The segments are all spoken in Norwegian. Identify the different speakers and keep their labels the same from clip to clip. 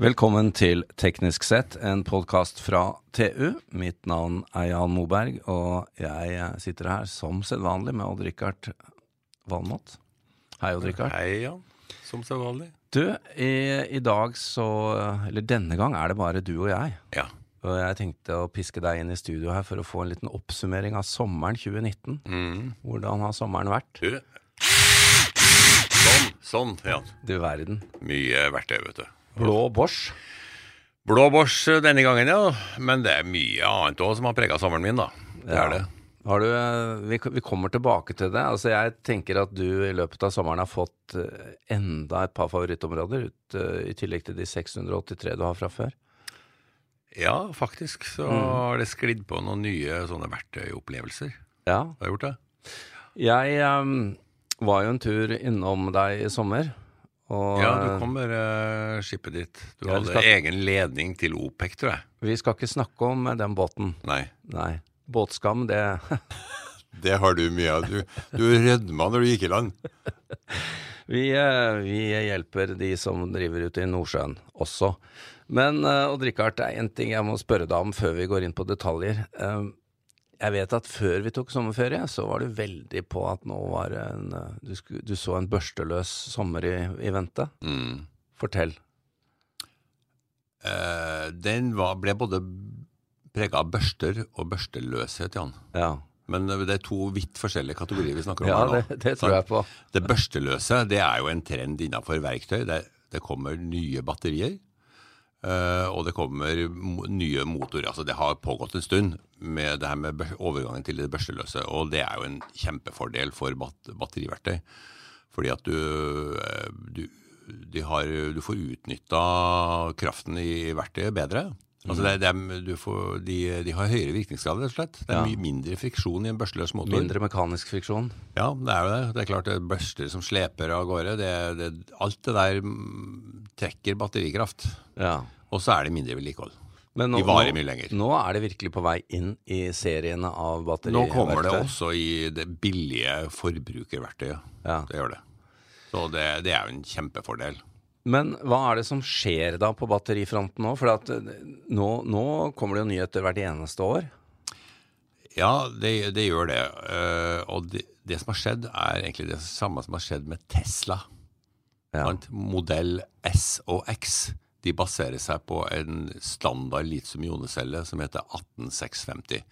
Speaker 1: Velkommen til Teknisk sett, en podkast fra TU. Mitt navn er Jan Moberg, og jeg sitter her som sedvanlig med Odd-Rikard Valmot. Hei, Odd-Rikard.
Speaker 2: Hei, Jan. Som sedvanlig.
Speaker 1: Du, i, i dag så Eller denne gang er det bare du og jeg.
Speaker 2: Ja.
Speaker 1: Og jeg tenkte å piske deg inn i studio her for å få en liten oppsummering av sommeren 2019.
Speaker 2: Mm.
Speaker 1: Hvordan har sommeren vært?
Speaker 2: Du. Sånn, sånn, Jan.
Speaker 1: Du verden.
Speaker 2: Mye verktøy, vet du.
Speaker 1: Blå Bosch.
Speaker 2: Blå bors eh, denne gangen, ja. Men det er mye annet òg som har prega sommeren min, da. Det er det.
Speaker 1: Har du, eh, vi, vi kommer tilbake til det. Altså, jeg tenker at du i løpet av sommeren har fått eh, enda et par favorittområder, ut, eh, i tillegg til de 683 du har fra før.
Speaker 2: Ja, faktisk så har det sklidd på noen nye sånne verktøyopplevelser.
Speaker 1: Ja.
Speaker 2: Har jeg gjort det?
Speaker 1: Jeg eh, var jo en tur innom deg i sommer. Og
Speaker 2: Ja,
Speaker 1: eh,
Speaker 2: du kommer uh, skipet ditt. Du
Speaker 1: Ja,
Speaker 2: hadde
Speaker 1: vi skal-
Speaker 2: egen ledning til OPEC, tror jeg.
Speaker 1: vi skal ikke snakke om eh, den båten.
Speaker 2: Nei.
Speaker 1: Nei. Båtskam, det
Speaker 3: Det har du mye av. Du, du rødma når du gikk i land.
Speaker 1: vi, eh, vi hjelper de som driver ute i Nordsjøen også. Men eh, Odd Rikard, det er én ting jeg må spørre deg om før vi går inn på detaljer. Eh, Jeg vet at før vi tok sommerferie, så var du veldig på at nå var det en eh, Du, sku, du så en børsteløs sommer i, i vente.
Speaker 2: Mm.
Speaker 1: Fortell.
Speaker 3: Eh, den var, ble både prega av børster og børsteløshet, Jan.
Speaker 1: Ja,
Speaker 3: Men eh, det er to vidt forskjellige kategorier vi snakker om
Speaker 1: ja
Speaker 3: her nå.
Speaker 1: det, det tror jeg på.
Speaker 3: Det børsteløse det er jo en trend innafor verktøy. Det, det kommer nye batterier, eh, og det kommer mo- nye motorer. Altså, det har pågått en stund med det her med bør- overgangen til det børsteløse, og det er jo en kjempefordel for bat batteriverktøy. Fordi at du, eh, du, de har, du får utnytta kraften i verktøyet bedre.
Speaker 1: Mhm.
Speaker 3: Altså det, det er, du får, de, de har høyere virkningsgrad, rett og slett. Det
Speaker 1: Ja.
Speaker 3: er mye mindre friksjon i en børsteløs motor.
Speaker 1: Mindre mekanisk friksjon.
Speaker 3: Ja, det er jo det. Det er klart det er børster som sleper av gårde. Det, det, alt det der mm, trekker batterikraft.
Speaker 1: Ja.
Speaker 3: Og så er det mindre vedlikehold.
Speaker 1: Men
Speaker 3: De varer
Speaker 1: nå-
Speaker 3: mye lenger.
Speaker 1: Nå er det virkelig på vei inn i seriene av batterier.
Speaker 3: Nå kommer det også i det billige forbrukerverktøyet.
Speaker 1: Ja.
Speaker 3: Det gjør det. Så det, det er jo en kjempefordel.
Speaker 1: Men hva er det som skjer da på batterifronten nå? For at eh, nå, nå kommer det jo nyheter hvert eneste år.
Speaker 3: Ja, det, det gjør det. Eh, og det, det som har skjedd, er egentlig det samme som har skjedd med Tesla.
Speaker 1: Ja.
Speaker 3: Sant? Modell S og X de baserer seg på en standard litium-ionecelle som heter 18650.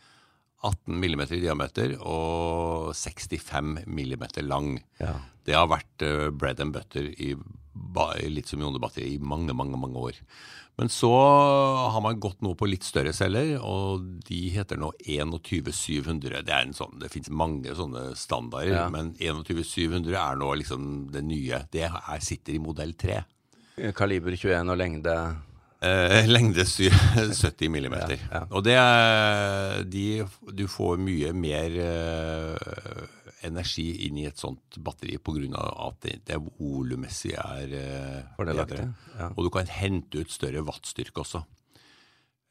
Speaker 3: 18 mm i diameter og 65 mm lang.
Speaker 1: Ja.
Speaker 3: Det har vært eh, bread and butter i ba- i litium-ionebatteriet i mange, mange mange år. Men så har man gått nå på litt større celler, og de heter nå 21700. Det er en sånn, det fins mange sånne standarder,
Speaker 1: Ja.
Speaker 3: men 21700 er nå liksom det nye. Det er, sitter i modell 3.
Speaker 1: Kaliber 21 og lengde.
Speaker 3: Eh, lengde sy 70 millimeter. Og det er de, Du får mye mer eh, energi inn i et sånt batteri pga. at det, det volummessig er eh,
Speaker 1: Fordelaktig,
Speaker 3: bedre.
Speaker 1: ja.
Speaker 3: Og du kan hente ut større wattstyrke også.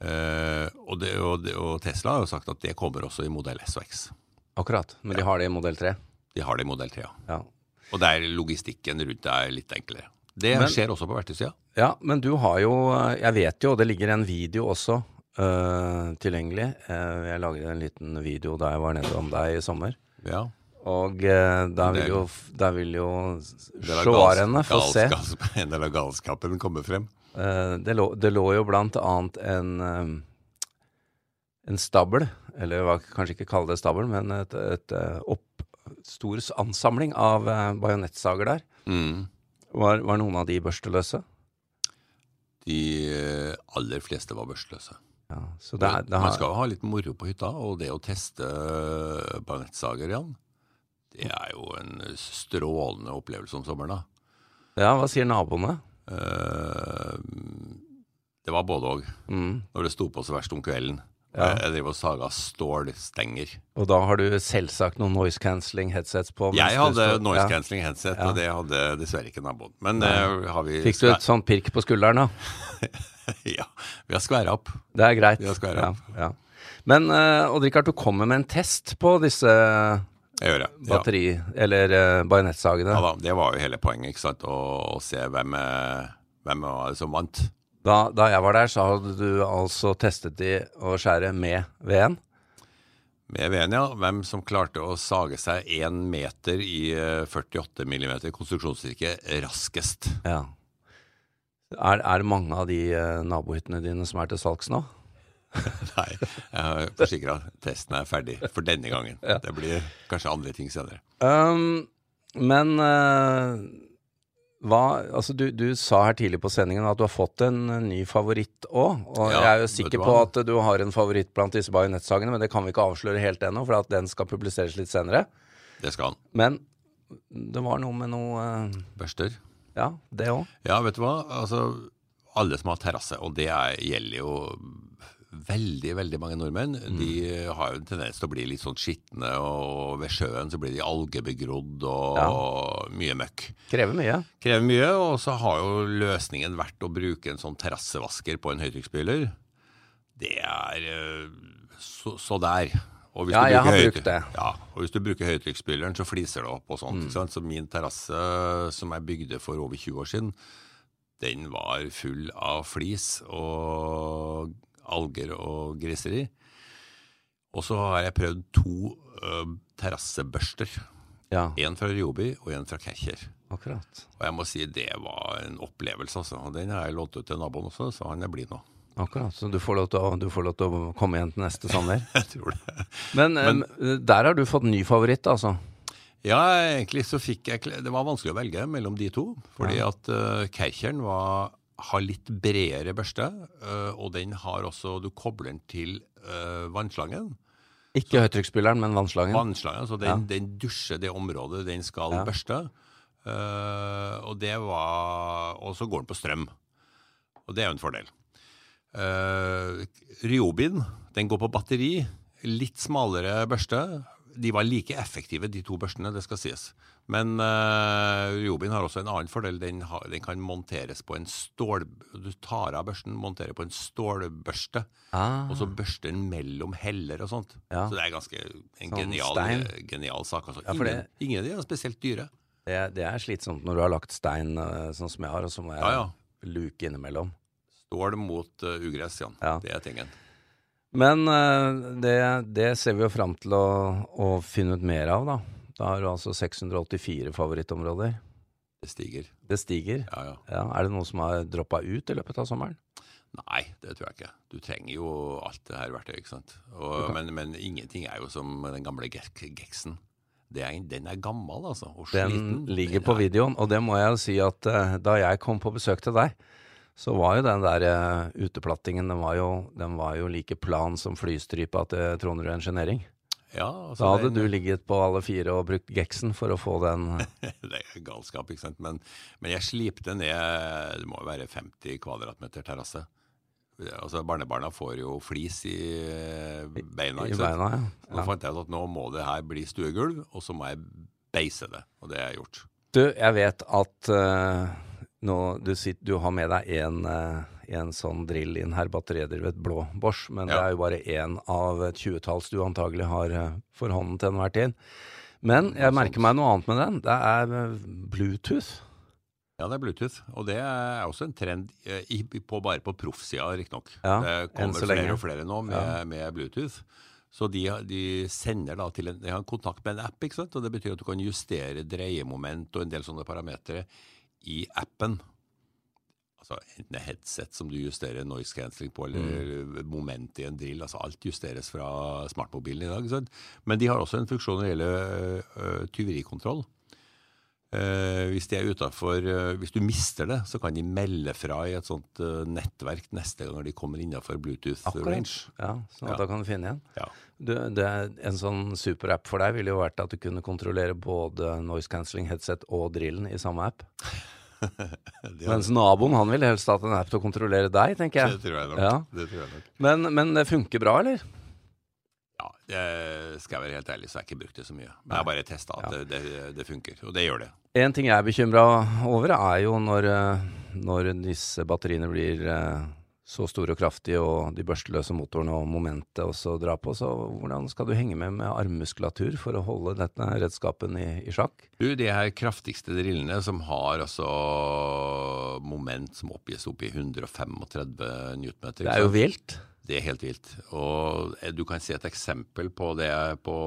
Speaker 3: Eh, og, det, og, det, og Tesla har jo sagt at det kommer også i modell S og X.
Speaker 1: Akkurat. Men de har det i modell 3.
Speaker 3: De har det i modell 3, ja.
Speaker 1: Ja.
Speaker 3: Og der logistikken rundt det er litt enklere. Det
Speaker 1: Men-
Speaker 3: skjer også på verktøysida.
Speaker 1: ja, men du har jo eh, Jeg vet jo, og det ligger en video også eh, tilgjengelig. Eh, jeg laget en liten video da jeg var nede om deg i sommer.
Speaker 3: Ja.
Speaker 1: Og eh, der vil jo, der vil jo
Speaker 3: del av gals-
Speaker 1: sjåarene få se.
Speaker 3: galskap- En del av galskapen kommer frem.
Speaker 1: Eh, det, lå, det lå jo blant annet en, eh, en stabel, eller hva, kanskje ikke kalle det stabel, men et, et eh, opp, stor s- ansamling av eh, bajonettsager der. Var, var noen av de børsteløse?
Speaker 3: De eh, aller fleste var børstløse.
Speaker 1: Ja, så det, er- det
Speaker 3: Man
Speaker 1: har,
Speaker 3: skal jo ha litt moro på hytta, og det å teste eh, bajonettsager igjen, det er jo en strålende opplevelse om sommeren, da.
Speaker 1: ja, hva sier naboene?
Speaker 3: Eh, Det var både òg.
Speaker 1: Mm.
Speaker 3: Når det sto på så verst om kvelden.
Speaker 1: Ja.
Speaker 3: Jeg drev og saga stålstenger.
Speaker 1: Og da har du selvsagt noen noise cancelling headsets på. mens
Speaker 3: Jeg
Speaker 1: du
Speaker 3: hadde
Speaker 1: står-
Speaker 3: noise
Speaker 1: Ja.
Speaker 3: cancelling headset, og det hadde dessverre ikke naboen. Men eh, har vi
Speaker 1: Fikk du et sånt pirk på skulderen, da?
Speaker 3: Ja, vi har skværa opp.
Speaker 1: Det er greit.
Speaker 3: Ja, skal jeg ha.
Speaker 1: Ja, ja. Men uh, Odd-Rikard, du kommer med en test på disse eh,
Speaker 3: Jeg gjør det. Ja.
Speaker 1: batteri... Eller eh, bajonettsagene.
Speaker 3: Ja da, det var jo hele poenget, ikke sant? Å, å se hvem, eh, hvem var det som vant.
Speaker 1: Da, da jeg var der, så hadde du altså testet i å skjære med veden.
Speaker 3: Med Venia, hvem som klarte å sage seg én meter i eh, 48 mm konstruksjonsstyrke raskest.
Speaker 1: Ja. Er, er det mange av de eh, nabohyttene dine som er til salgs nå?
Speaker 3: Nei, jeg forsikrer at testen er ferdig for denne gangen. Det blir kanskje andre ting senere.
Speaker 1: Um, men eh, hva Altså, du, du sa her tidlig på sendingen at du har fått en eh, ny favoritt òg. Og
Speaker 3: Ja,
Speaker 1: jeg er jo
Speaker 3: vet
Speaker 1: sikker
Speaker 3: du
Speaker 1: på
Speaker 3: hva?
Speaker 1: at du har en favoritt blant disse bajonettsagene, men det kan vi ikke avsløre helt ennå, for at den skal publiseres litt senere.
Speaker 3: Det skal han.
Speaker 1: Men det var noe med noe eh,
Speaker 3: Børster.
Speaker 1: Ja, det òg.
Speaker 3: Ja, vet du hva? Altså, alle som har terrasse, og det er, gjelder jo veldig, veldig mange nordmenn, de har jo en tendens til å bli litt sånn skitne, og ved sjøen så blir de algebegrodd og, og mye møkk.
Speaker 1: Krever mye.
Speaker 3: Krever mye, og så har jo løsningen vært å bruke en sånn terrassevasker på en høytrykksspyler. Det er eh, så, så der. Og hvis
Speaker 1: Ja,
Speaker 3: du
Speaker 1: jeg
Speaker 3: bruker
Speaker 1: har
Speaker 3: høyt-
Speaker 1: brukt det. Mm.
Speaker 3: Ja, og hvis du bruker høytrykksspyleren, så fliser det opp og sånt. Ikke sant? Så min terrasse, som jeg bygde for over 20 år siden, den var full av flis og alger og griseri. Og så har jeg prøvd to eh, terrassebørster.
Speaker 1: Ja,
Speaker 3: En fra Ryobi og en fra Kercher.
Speaker 1: akkurat.
Speaker 3: Og jeg må si det var en opplevelse, altså. Og Den har jeg lånt ut til naboen også, så han er blid nå.
Speaker 1: Akkurat, Så du får lov til å, du får lov til å komme igjen til neste sommer.
Speaker 3: Jeg tror det.
Speaker 1: Men, eh, der har du fått ny favoritt, altså.
Speaker 3: Ja, egentlig så fikk jeg kle- Det var vanskelig å velge mellom de to. Fordi at uh, Kercheren var, har litt bredere børste, eh, og den har også Du kobler den til eh, vannslangen.
Speaker 1: Ikke høytrykksspilleren, men vannslangen.
Speaker 3: Vannslangen, så den, den dusjer det området den skal børste. Eh, og det var Og så går den på strøm. Og det er jo en fordel. Uh, Ryobin, den går på batteri. Litt smalere børste. De var like effektive, de to børstene, det skal sies. Men uh, Ryobin har også en annen fordel. Den, har, den kan monteres på en stål... Du tar av børsten, monterer på en stålbørste,
Speaker 1: Ah.
Speaker 3: og så børster den mellom heller og sånt.
Speaker 1: Ja.
Speaker 3: Så det er ganske en
Speaker 1: Sånn
Speaker 3: genial,
Speaker 1: stein.
Speaker 3: genial sak. Altså.
Speaker 1: Ja, for
Speaker 3: ingen,
Speaker 1: det-
Speaker 3: ingen av de er spesielt dyre.
Speaker 1: Det, det er slitsomt når du har lagt stein eh, sånn som jeg har, og så må jeg
Speaker 3: Ja, ja.
Speaker 1: luke innimellom.
Speaker 3: Stål mot eh, ugress, Jan.
Speaker 1: Ja.
Speaker 3: Det er tingen.
Speaker 1: Men eh, det, det ser vi jo fram til å, å finne ut mer av, da. Da har du altså 684 favorittområder.
Speaker 3: Det stiger.
Speaker 1: Det stiger.
Speaker 3: Ja, ja.
Speaker 1: Ja, er det noe som har droppa ut i løpet av sommeren?
Speaker 3: Nei, det tror jeg ikke. Du trenger jo alt det her verktøyet, ikke sant. Og, men, men ingenting er jo som den gamle Ge- Gexen. Det er, den er gammel, altså. Og sliten.
Speaker 1: Den ligger
Speaker 3: Den
Speaker 1: på
Speaker 3: er-
Speaker 1: videoen, og det må jeg jo si at eh, da jeg kom på besøk til deg, så var jo den der eh, uteplattingen, den var jo, den var jo like plan som flystripa til Trondrud Engineering.
Speaker 3: Ja,
Speaker 1: Da
Speaker 3: altså,
Speaker 1: hadde
Speaker 3: den-
Speaker 1: du ligget på alle fire og brukt geksen for å få den eh,
Speaker 3: Det er galskap, ikke sant. Men, men jeg slipte ned Det må jo være 50 kvadratmeter terrasse. Altså, barnebarna får jo flis i beina,
Speaker 1: i
Speaker 3: ikke sant.
Speaker 1: beina.
Speaker 3: Så
Speaker 1: Ja.
Speaker 3: Da fant jeg ut at nå må det her bli stuegulv, og så må jeg beise det. Og det har jeg gjort.
Speaker 1: Du, jeg vet at eh, nå, du, sitter, du har med deg en, eh, en sånn drill inn her, batteridrevet blå Bosch, men det
Speaker 3: Ja.
Speaker 1: er jo bare én av et tjuetalls du antagelig har eh, for hånden til enhver tid. Men jeg merker meg noe annet med den. Det er eh, Bluetooth.
Speaker 3: Ja, det er Bluetooth, og det er også en trend eh, i, på, bare på proffsida, riktignok.
Speaker 1: Ja,
Speaker 3: det
Speaker 1: enn
Speaker 3: kommer
Speaker 1: så
Speaker 3: flere
Speaker 1: lenge.
Speaker 3: og flere nå med, med Bluetooth. Så de, har- de sender da til en, de har en kontakt med en app, ikke sant? og det betyr at du kan justere dreiemoment og en del sånne parametere i appen. Altså enten det er headset som du justerer noise cancelling på, eller moment i en drill. altså Alt justeres fra smartmobilen i dag. ikke Sant? Men de har også en funksjon når det gjelder øh, øh, tyverikontroll. Eh, hvis de er utenfor, eh, hvis du mister det, så kan de melde fra i et sånt eh, nettverk neste gang når de kommer innafor Bluetooth range.
Speaker 1: Ja, sånn at
Speaker 3: Ja.
Speaker 1: da kan du finne igjen.
Speaker 3: Ja.
Speaker 1: Du, det, er- en sånn superapp for deg ville jo vært at du kunne kontrollere både noise cancelling headset og drillen i samme app.
Speaker 3: Det,
Speaker 1: Mens naboen han ville helst hatt en app til å kontrollere deg, tenker
Speaker 3: det
Speaker 1: jeg.
Speaker 3: tror jeg nok.
Speaker 1: Ja.
Speaker 3: Det tror jeg nok.
Speaker 1: Men, men det funker bra, eller?
Speaker 3: Ja, det skal jeg være helt ærlig, så har jeg ikke brukt det så mye. Men jeg har bare testa at det, det, det funker, og det gjør det.
Speaker 1: En ting jeg er bekymra over, er jo når, eh, når disse batteriene blir eh, så stor og kraftig, og de børsteløse motorene og momentet også drar på, så hvordan skal du henge med med armmuskulatur for å holde denne redskapen i, i sjakk?
Speaker 3: Du, de her kraftigste drillene som har altså moment som oppgis opp i 135 newtonmeter.
Speaker 1: Det er jo vilt.
Speaker 3: Det er helt vilt. Og eh, du kan se et eksempel på det på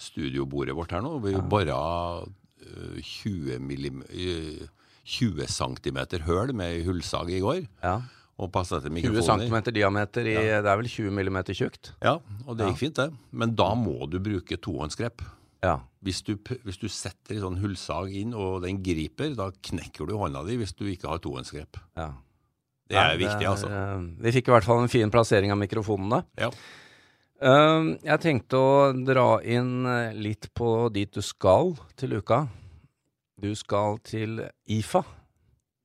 Speaker 3: studiobordet vårt her nå. Vi bora eh, 20, millim- eh, 20 centimeter høl med hullsag i går.
Speaker 1: Ja.
Speaker 3: Og passa etter
Speaker 1: 20
Speaker 3: mikrofoner.
Speaker 1: cm diameter i Det er vel 20 mm tjukt?
Speaker 3: Ja, og det gikk fint, det. Men da må du bruke tohåndsgrep.
Speaker 1: Ja.
Speaker 3: Hvis du, p- hvis du setter en sånn hullsag inn, og den griper, da knekker du hånda di hvis du ikke har tohåndsgrep.
Speaker 1: ja.
Speaker 3: Det er
Speaker 1: Nei,
Speaker 3: viktig, altså.
Speaker 1: eh, Vi fikk i hvert fall en fin plassering av mikrofonene.
Speaker 3: Ja.
Speaker 1: Eh, Jeg tenkte å dra inn eh, litt på dit du skal til uka. Du skal til IFA.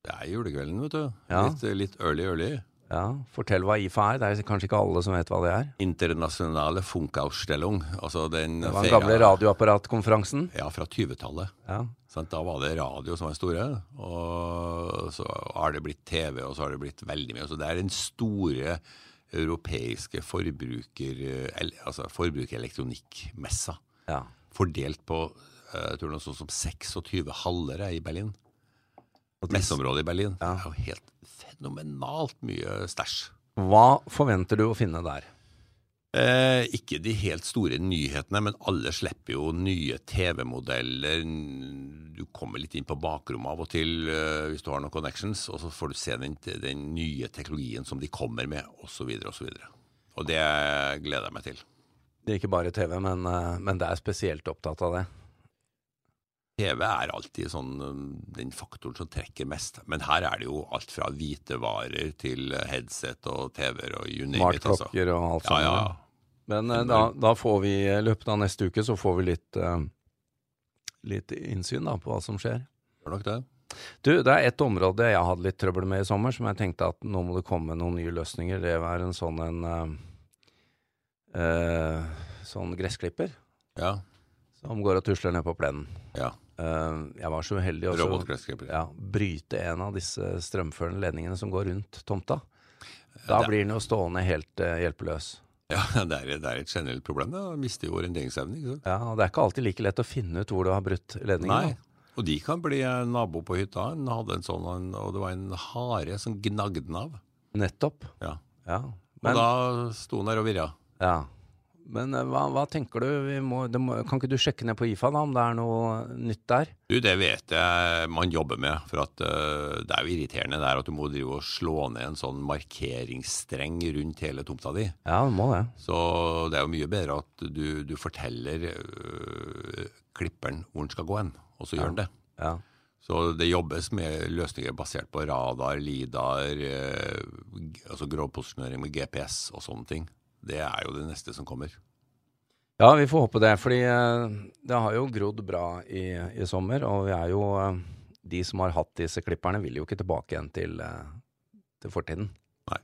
Speaker 3: Det er julekvelden, vet du.
Speaker 1: Ja.
Speaker 3: Litt, litt early, early.
Speaker 1: Ja, Fortell hva IFA er. Det er kanskje ikke alle som vet hva det er.
Speaker 3: Internasjonale Funkausstellung. Altså den
Speaker 1: Det var den
Speaker 3: fega-
Speaker 1: gamle radioapparatkonferansen.
Speaker 3: Ja, fra 20-tallet.
Speaker 1: Ja.
Speaker 3: Sant? Da var det radio som var den store, og så har det blitt TV, og så har det blitt veldig mye. Så det er den store europeiske forbruker, el- altså forbrukerelektronikkmessa,
Speaker 1: ja.
Speaker 3: fordelt på eh, jeg tror noe sånt som 26 haller er i Berlin. Messeområdet i Berlin. Det er jo helt fenomenalt mye stæsj.
Speaker 1: Hva forventer du å finne der?
Speaker 3: Eh, ikke de helt store nyhetene, men alle slipper jo nye TV-modeller. N- Du kommer litt inn på bakrommet av og til eh, hvis du har noen connections, og så får du se den, den nye teknologien som de kommer med, osv., osv. Og det gleder jeg meg til.
Speaker 1: Det er ikke bare TV, men, eh, men det er spesielt opptatt av det.
Speaker 3: TV er alltid sånn, eh, den faktoren som trekker mest, men her er det jo alt fra hvitevarer til eh, headset og TV-er og you name it. Altså.
Speaker 1: Smartklokker og alt
Speaker 3: Ja,
Speaker 1: sånt.
Speaker 3: ja,
Speaker 1: der. Men eh, da, da får vi, eh, i løpet av neste uke, så får vi litt, eh, litt innsyn da, på hva som skjer.
Speaker 3: gjør nok det.
Speaker 1: Du, det er et område jeg hadde litt trøbbel med i sommer, som jeg tenkte at nå må det komme noen nye løsninger. Det var en sånn en eh, eh, sånn gressklipper
Speaker 3: Ja,
Speaker 1: som går og tusler ned på plenen.
Speaker 3: ja.
Speaker 1: Eh, jeg var så uheldig også
Speaker 3: Robotgressklipper.
Speaker 1: ja, bryte en av disse strømførende ledningene som går rundt tomta. Da
Speaker 3: Eh, Det er-
Speaker 1: blir den jo stående helt eh, hjelpeløs.
Speaker 3: Ja, det er, det er et generelt problem. Da. Mister jo orienteringsevne. ikke sant?
Speaker 1: Ja, og Det er ikke alltid like lett å finne ut hvor du har brutt
Speaker 3: Nei.
Speaker 1: ledningen. da.
Speaker 3: Og de kan bli eh, nabo på hytta. Han hadde en sånn, han- og det var en hare som gnagde den av.
Speaker 1: Nettopp.
Speaker 3: Ja.
Speaker 1: Ja.
Speaker 3: Og
Speaker 1: Men,
Speaker 3: da sto han der og virra.
Speaker 1: ja. Men eh, hva, hva tenker du? Vi må, det må, kan ikke du sjekke ned på IFA da, om det er noe nytt der?
Speaker 3: Du, det vet jeg man jobber med, for at eh, det er jo irriterende det er at du må drive og slå ned en sånn markeringsstreng rundt hele tomta di.
Speaker 1: Ja, det må det.
Speaker 3: Så det er jo mye bedre at du, du forteller eh, klipperen hvor den skal gå hen, og så gjør han det.
Speaker 1: Ja.
Speaker 3: Så det jobbes med løsninger basert på radar, lidar, eh, g- altså grovposisjonering med GPS og sånne ting. Det er jo det neste som kommer.
Speaker 1: ja, vi får håpe det. Fordi eh, det har jo grodd bra i, i sommer, og vi er jo eh, De som har hatt disse klipperne, vil jo ikke tilbake igjen til, eh, til fortiden.
Speaker 3: Nei.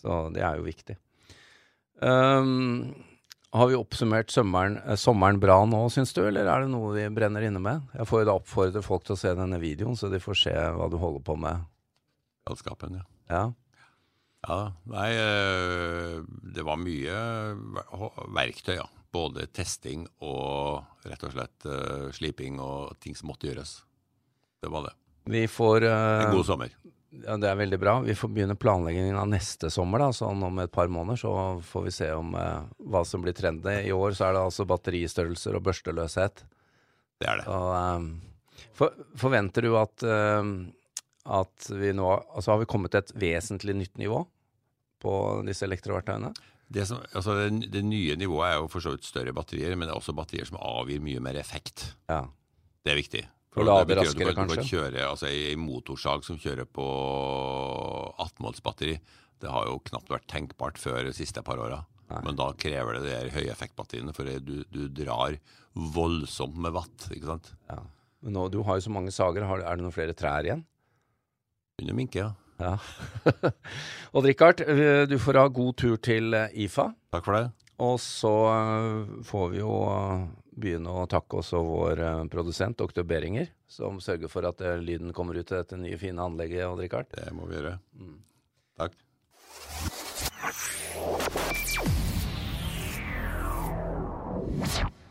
Speaker 1: Så det er jo viktig. Ehm, har vi oppsummert sommeren, eh, sommeren bra nå, syns du, eller er det noe vi brenner inne med? Jeg får jo da oppfordre folk til å se denne videoen, så de får se hva du holder på med.
Speaker 3: Galskapen, ja.
Speaker 1: Ja,
Speaker 3: Ja, nei, eh, det var mye ver- hå- verktøy, ja. Både testing og rett og slett eh, sliping og ting som måtte gjøres. Det var det.
Speaker 1: vi får eh,
Speaker 3: En god sommer.
Speaker 1: Ja, Det er veldig bra. Vi får begynne planleggingen av neste sommer, da. Sånn om et par måneder så får vi se om eh, hva som blir trendy. I år så er det altså batteristørrelser og børsteløshet.
Speaker 3: Det er det.
Speaker 1: Og, eh, for, forventer du at, eh, at vi nå Altså har vi kommet til et vesentlig nytt nivå på disse elektroverktøyene?
Speaker 3: Det, som, altså, det, n- det nye nivået er jo for så vidt større batterier, men det er også batterier som avgir mye mer effekt.
Speaker 1: Ja.
Speaker 3: Det er viktig.
Speaker 1: Og lader
Speaker 3: det betyr at
Speaker 1: raskere,
Speaker 3: du kan, du kan
Speaker 1: kanskje?
Speaker 3: kjøre, altså En motorsag som kjører på 18-voltsbatteri, det har jo knapt vært tenkbart før de siste par åra. Men da krever det de her høye effektbatteriene, for du, du drar voldsomt med watt. ikke sant?
Speaker 1: ja. Men nå, du har jo så mange sager. Har, er det noen flere trær igjen?
Speaker 3: Under minke, ja.
Speaker 1: Ja. Odd Rikard, eh, du får ha god tur til eh, IFA.
Speaker 3: Takk for det.
Speaker 1: Og så eh, får vi jo eh, begynne å takke også vår eh, produsent, doktor Beringer, som sørger for at eh, lyden kommer ut til dette nye, fine anlegget. Odd Rikard.
Speaker 3: Det må vi gjøre. Takk.
Speaker 4: Thank you.